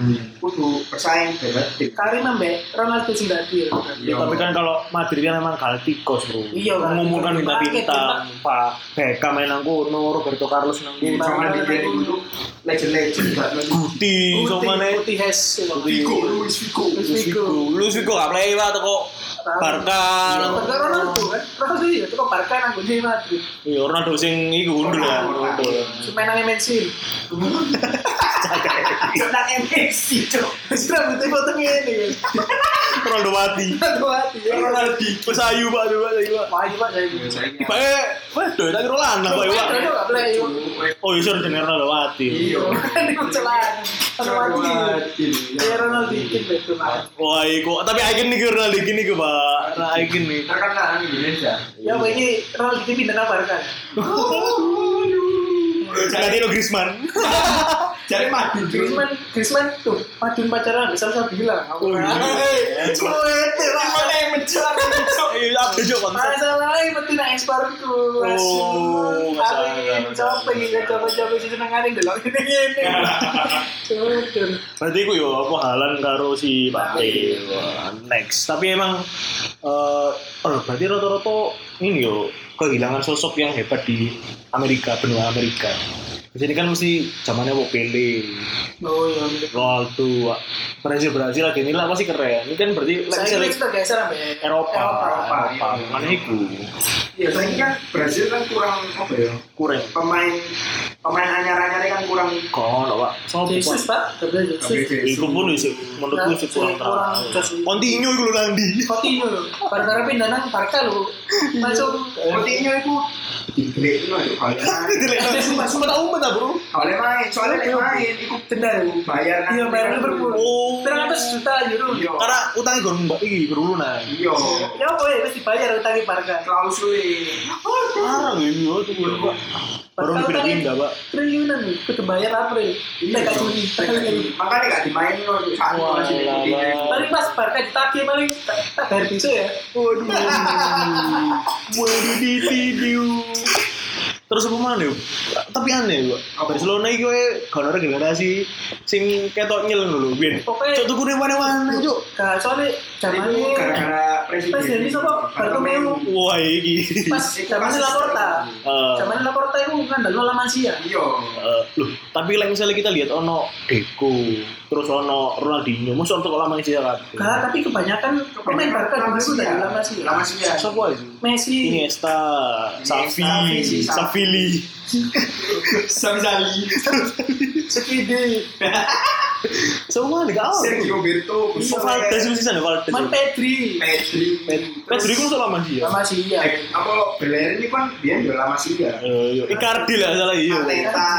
Kudu bersaing bebas tim.
Karim ambek Ronaldo sing dadi.
Ya, tapi kan kalau Madrid kan memang Galacticos bro.
Iya,
Mengumpulkan
Galacticos.
bintang-bintang. Pak Beckham main nang kono, Roberto Carlos nang kono.
Jangan dikira itu legend-legend gak lebih.
Guti, sama nih.
Putih Hes.
Figo, Luis Figo.
Luis
Luis
Figo.
Figo, Luis Figo gak play lah toko Barca. nang-
Padahal Kan? Iya, Ronaldo kan. Ronaldo iya tuh kok Barca nang gede Madrid.
Iya, Ronaldo sing iku gundul ya. Ronaldo.
Cuma nang MNC.
Tentang MSC, cok.
Terus rambutnya potong ngene kan.
Ronaldo mati.
Aduh hati ya.
Ronaldo, wes ayu pak, ayu, pak, ayu pak.
Maju Pak saya.
Pak, eh, waduh, tak kira lanang pak, ayu, pak.
Aduh, nggak boleh, yuk.
Oh, iya, suruh jeneng Ronaldo mati.
Iya.
Ini kecelakaan. Ronaldo mati. Ya Ronaldo dikit betul.
Wah, iku, tapi icon nih Ronaldo gini ke pak, nah icon nih.
Terkenal di Indonesia.
Ya apa ini Ronaldo pindah nang Barca.
Ganti lo Griezmann.
Jadi madu terus.
Griezmann, Griezmann tuh padun pacaran bisa bisa bilang.
Oh,
Aku
iya.
Hei,
Cuma itu lah.
yang menjelang itu?
Iya, apa sih bang?
Masalahnya penting nang ekspor
Oh,
tuh. aku
masalah.
ingin coba ingin coba-coba sih seneng aja dulu ini ini. Cudun.
Berarti gue yo apa halan karo si Bate. Wah, Next. Tapi emang eh oh, berarti rata-rata ini yo kehilangan sosok yang hebat di Amerika, benua Amerika. Di sini kan mesti zamannya mau Pele,
Oh iya.
Ronaldo, Brazil Brazil lagi ini lah pasti keren. Ini kan berarti
Saya
misalnya
kira kita geser sampai
Eropa,
Eropa.
Eropa, mana itu?
ya saya ini kan Brazil kan kurang apa ya
kurang
pemain pemain anyar-anyarnya kan kurang
kono pak sopo
Yesus pak Gabriel
Gabriel
Yesus
Jesus.
iku Iya, pun sih menurutku sih kurang terang Continue iku lho nang ndi
Coutinho lho Barca pindah nang Barca lho
Iya.
masuk
Coutinho itu digelik itu aja kalau
Nah, Sumpah sumpah tak umpet ah, Bro.
Oleh main, soalnya dia main, ikut
denda lho
bayar kan.
Iya, bayar Liverpool.
Oh.
300 juta euro
Iya.
Karena utangnya gue mbak iki nah. berulunan.
Iya,
ya apa ya mesti bayar utangnya Barca
klausul
Parah gue ini waktu gue Pak. Baru
Barca
pindah pindah pak.
triliunan lho kudu bayar April Nek gak Juni
Makanya gak dimainin loh, saat itu masih di Coutinho.
paling pas Barca ditagih paling tak tak bayar besok ya
Waduh. Waduh di di di. Terus apa mana yuk? Tapi aneh gue. Barcelona iki gue kalau ada generasi sing ketok nyel dulu. Bin.
Pokoknya-
Cok tuh gue mana mana cok.
gak Nah, soalnya zaman
Itu gara-gara presiden.
presiden itu apa? Bartomeu.
Wah iki.
pas zaman Laporta
Eh,
zaman Laporta itu kan dalam lama sih ya
Iya.
eh, loh, tapi like, misalnya kita lihat ono Deco, terus ono Ronaldinho, musuh untuk lama sih kan.
Gak, tapi kebanyakan pemain Barca dulu itu dari lama sih ya.
Lama sih ya.
Siapa aja?
Messi
Iniesta, Xavi,
Xavi,
Savili.
Sam Zali.
Sepide
Semua nih
Oh.
kau.
Sergio Berto,
Valdes mesti sana Valdes.
Man Pedri
Pedri,
Pedri ku untuk lama iya. dia.
lama sih ya
Eh, apa Bellerin ini kan dia juga lama sih ya.
Eh, yo, Icardi lah salah iya.
Arteta,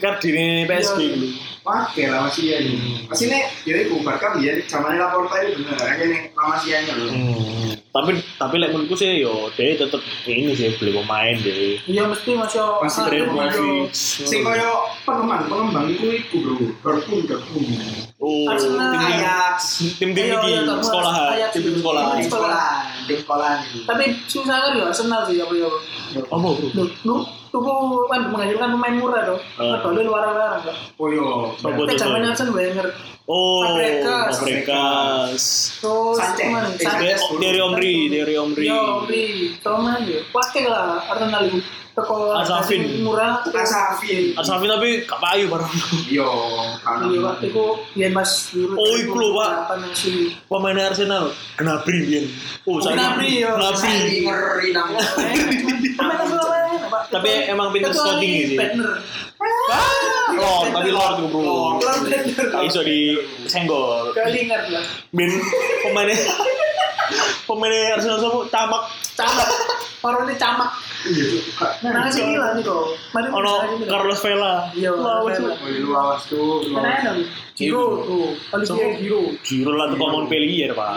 Icardi nih PSG
Iya.
dulu.
pakai lama sih ya
Hmm.
ini. Masih nih, jadi kubar kan dia zamannya Laporta itu bener, aja nih lama sih ya loh.
Hmm, Tapi tapi like menurutku sih yo dia tetap ini sih beli pemain deh.
iya mesti masih masih-
Masih Ibrahimovic. Sing koyo pengembang pengembang itu itu bro, Dortmund Dortmund.
Oh,
Arsenal.
tim-tim-
Ajax,
tim-tim
Ayo,
ini
ayo, kamu
sekolahan,
Ajax.
tim-tim sekolahan.
di sekolah, di sekolah.
tapi susah kan ya Arsenal sih apa ya
Apa bro?
lu lu tuku kan menghasilkan pemain murah dong
Eh.
kalau lu luar-luar
Oh yo,
Sopo tuh?
kan zaman Arsenal Wenger
Oh,
Fabregas.
Fabregas.
terus
Sanchez.
kemana?
Eh,
Dari dari Omri, dari Omri.
Yo, Omri, Thomas ya, pakai lah Arsenal itu. Toko
Asafin.
hasil murah,
Asafi,
Arsafi tapi gak payu barang.
yo,
Iya, Pak. Iku yen Mas dulu.
Oh, iku lho, Pak.
Apa nang sini?
Pemain Arsenal, Gnabry biyen. Oh, saya-
Gnabry, yo.
Gnabry.
Saiki ngeri nang.
Pemain Arsenal lain, Pak.
Tapi
Kecuali-
emang pinter
kecuali
scouting-nya sih.
Bednar.
Lord, tapi Lord tuh bro.
Lord Bednar.
Gak Ah, iso di senggol.
Gak ingat lah.
Bin pemainnya pemainnya Arsenal sopo tamak
Camak. Parone camak.
Iya, Kak.
Nang sini lah nih kok. Mari kita
ono
sini, Pak.
Carlos Vela.
Iya,
Lawan
Vela.
Oh, lu awas tuh, lu
Karena ada
awas.
Giro
Iya.
tuh. Olivier Giro.
Jiro lah tuh Montpellier ya,
Iya.
pak.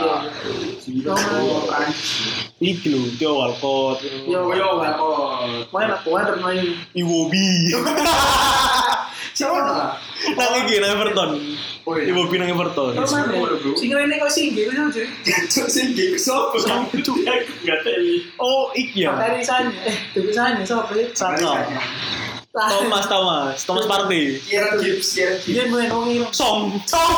Gila,
Thomas.
anjing.
Iki lho, Theo Walcott,
Iya.
Oh, yo, oh.
Pokoknya lah, pokoknya ada main.
Iwobi.
Siapa lah?
Nang iki nang Everton.
Oh, iya.
Iwobi nang Everton.
Terus mana?
Bro, bro.
Sing rene kok sing Giro kan, cuy.
Jancuk sing gig sop.
Oh, iki ya.
Dari sana. Eh, dari sana siapa sih?
Sano.
Lah.
Thomas Thomas, Thomas Partey.
Kieran Gibbs, Kieran Gibbs.
Dia main wong ilang.
Song. Song.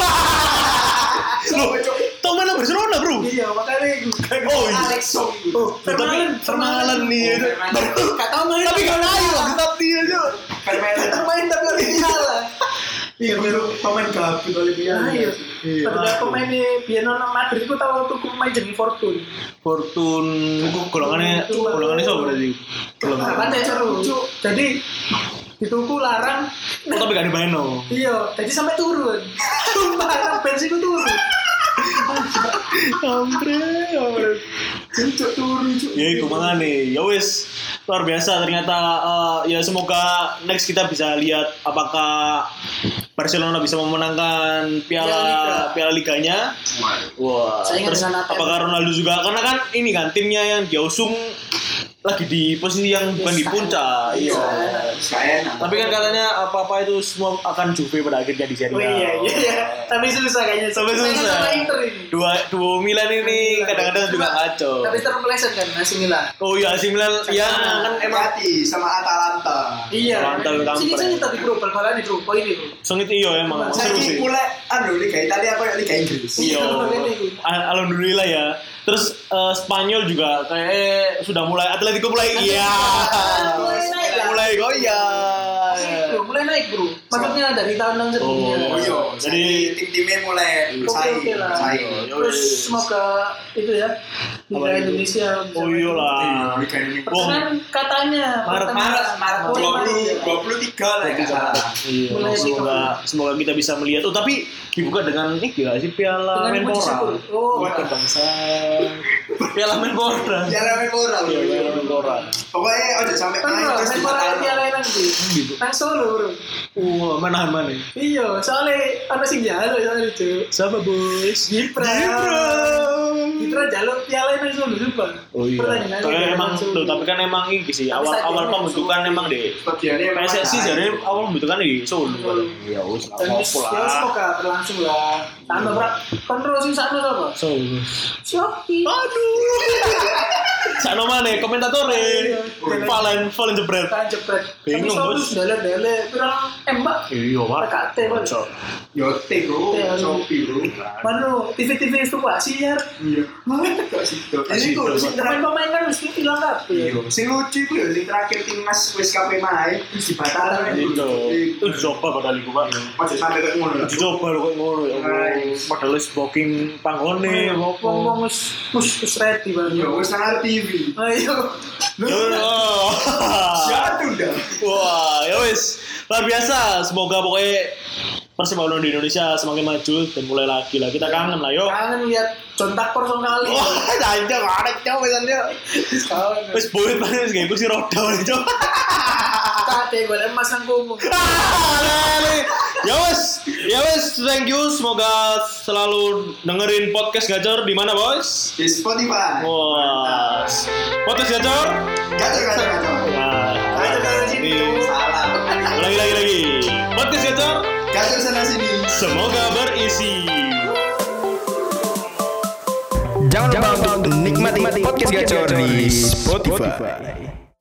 Loh, Thomas nang Barcelona, Bro.
Iya, makanya iku.
Oh, iya.
Alex Song.
Oh,
Tapi
Vermaelen,
Vermaelen nih.
Vermaelen.
Gak tau main.
Tapi gak layu tetap dia aja.
Permainan.
Main tapi oleh kalah.
Iya, baru pemain gabut oleh dia.
Iya.
Ayo. Padahal pemainnya Biar nonton Madrid itu tahu tuh pemain jadi Fortune.
Fortun golongannya golongannya siapa berarti? Golongan.
Nah, kan saya seru. Jadi dituku larang.
Oh, tapi gak dimain no.
Iya, jadi sampai turun. Sumpah, nang bensin ku turun.
Ya Ampre, ampre.
Jancuk turun, cuk.
Ya itu makanya ya wis luar biasa ternyata eh, ya semoga next kita bisa lihat apakah Barcelona bisa memenangkan piala piala liganya. Wah.
Saingan
terus
dengan apa? ya?
apakah Ronaldo juga karena kan ini kan timnya yang dia usung lagi di posisi yang bukan di puncak.
Iya.
Iya.
Gak enak.
Tapi kan katanya apa-apa itu semua akan Juve pada akhirnya di Serie
Oh
A.
iya, iya, iya. Tapi susah kayaknya.
Tapi
Saingan
susah.
sama Inter ini.
Dua dua Milan ini
Milan.
kadang-kadang juga kacau.
Tapi terpeleset kan, masih Milan.
Oh iya, AC Milan ya kan emang
Hati sama Atalanta.
Iya.
Rantai kampret.
Sini-sini tapi bro, bal-balan di bro, poin ini bro.
sengit iya emang seru sih.
Saiki mulai anu Liga Italia apa Liga Inggris.
Iya. Al- Alhamdulillah ya. Terus eh, Spanyol juga kayak eh, sudah mulai oh iya. Atletico mulai iya.
Mulai naik lah.
Mulai goyah.
naik bro, mulai naik bro. Maksudnya dari tahun-tahun sebelumnya.
Oh,
Oh iya,
Jadi-
jadi tim-timnya mulai
Oke
bersaing,
oke lah.
bersaing.
Terus semoga itu ya
Apa
Liga
itu?
Indonesia. bisa-
Oh iya
Iya,
lah.
Liga Indonesia.
Pertengahan katanya.
Maret, Maret, Maret,
Oh, iya, Maret,
20,
ya.
23 lah ya nggak salah.
Iya,
Mulai sih,
semoga semoga kita bisa melihat. Oh, tapi dibuka dengan ini gila sih Piala
Dengan puji syukur.
Menpora.
Oh,
Buat
enggak.
bangsa.
Piala Menpora.
Ya ramai orang.
Iya, Piala Menpora.
Pokoknya ojo sampai
Kan
Nah,
main
bro,
terus
Menpora
dibatalkan.
nanti lain nanti. Nang Solo bro.
Wah, mana mana.
Iya, soalnya ada sing jaluk soalnya itu.
Sama bos.
Gibran.
Hmm.
Gibran jaluk kan piala nang Solo sumpah.
Oh iya.
Pertandingan
Tapi
Liga
emang
Solo.
tuh, tapi kan emang ini sih awal awal pembentukan emang deh.
Bagiannya emang
PSSI
ada.
jadi awal pembentukan di Solo. Ya wis
Dan ya semoga berlangsung lah. Tambah
Iya.
berat. Kontrol sing sakno sapa?
Solo.
Shoki.
Oh. Aduh. Sakno maneh komentatore.
Iya.
Valen Valen jebret.
Kan jepret. Tapi
Bingung,
Solo
Bos.
dele-dele kurang embak.
Iya, Pak.
PKT, Pak.
Cok.
Yo, teh, bro,
Teh,
Shopee, bro.
Manu, TV-TV itu Pak siar.
Iya. Kok situ? Ini
situ,
tuh,
Pak.
sing terakhir-
Pemain-pemain kan mesti hilang kabeh.
Iya. Sing lucu iku ya, sing terakhir timnas wis kabeh main terus dibatalkan
Itu.
Iku.
Itu coba padahal iku, Pak.
Masih sampai kayak ngono.
Coba lu kok ngono ya. Allah. Padahal wis booking panggone opo.
Ngomong wis wis wis ready
Yo,
Iya.
banget.
wis nang TV.
Ayo.
Yo.
Siapa tuh dah?
Wah, ya wis. Luar biasa. Semoga pokoknya Persib Bandung di Indonesia semakin maju dan mulai lagi lah. Kita kangen lah, yo.
Kangen lihat contak person kali.
Wah, jangan arek cowok pesan dia. Oh. Wis bulet banget wis kayak kursi roda wis cowok.
Kakek gue emas nang kumung.
Ya wes, ya wes, thank you. Semoga selalu dengerin podcast gacor di mana, Bos?
Di Spotify.
Wah. Podcast gacor.
Gacor, gacor, gacor.
Nah,
Gacor sana sini.
ini.
Salah.
Lagi lagi lagi. Podcast gacor.
Gacor sana sini.
Semoga berisi.
Jangan lupa untuk nikmati podcast gacor di Spotify.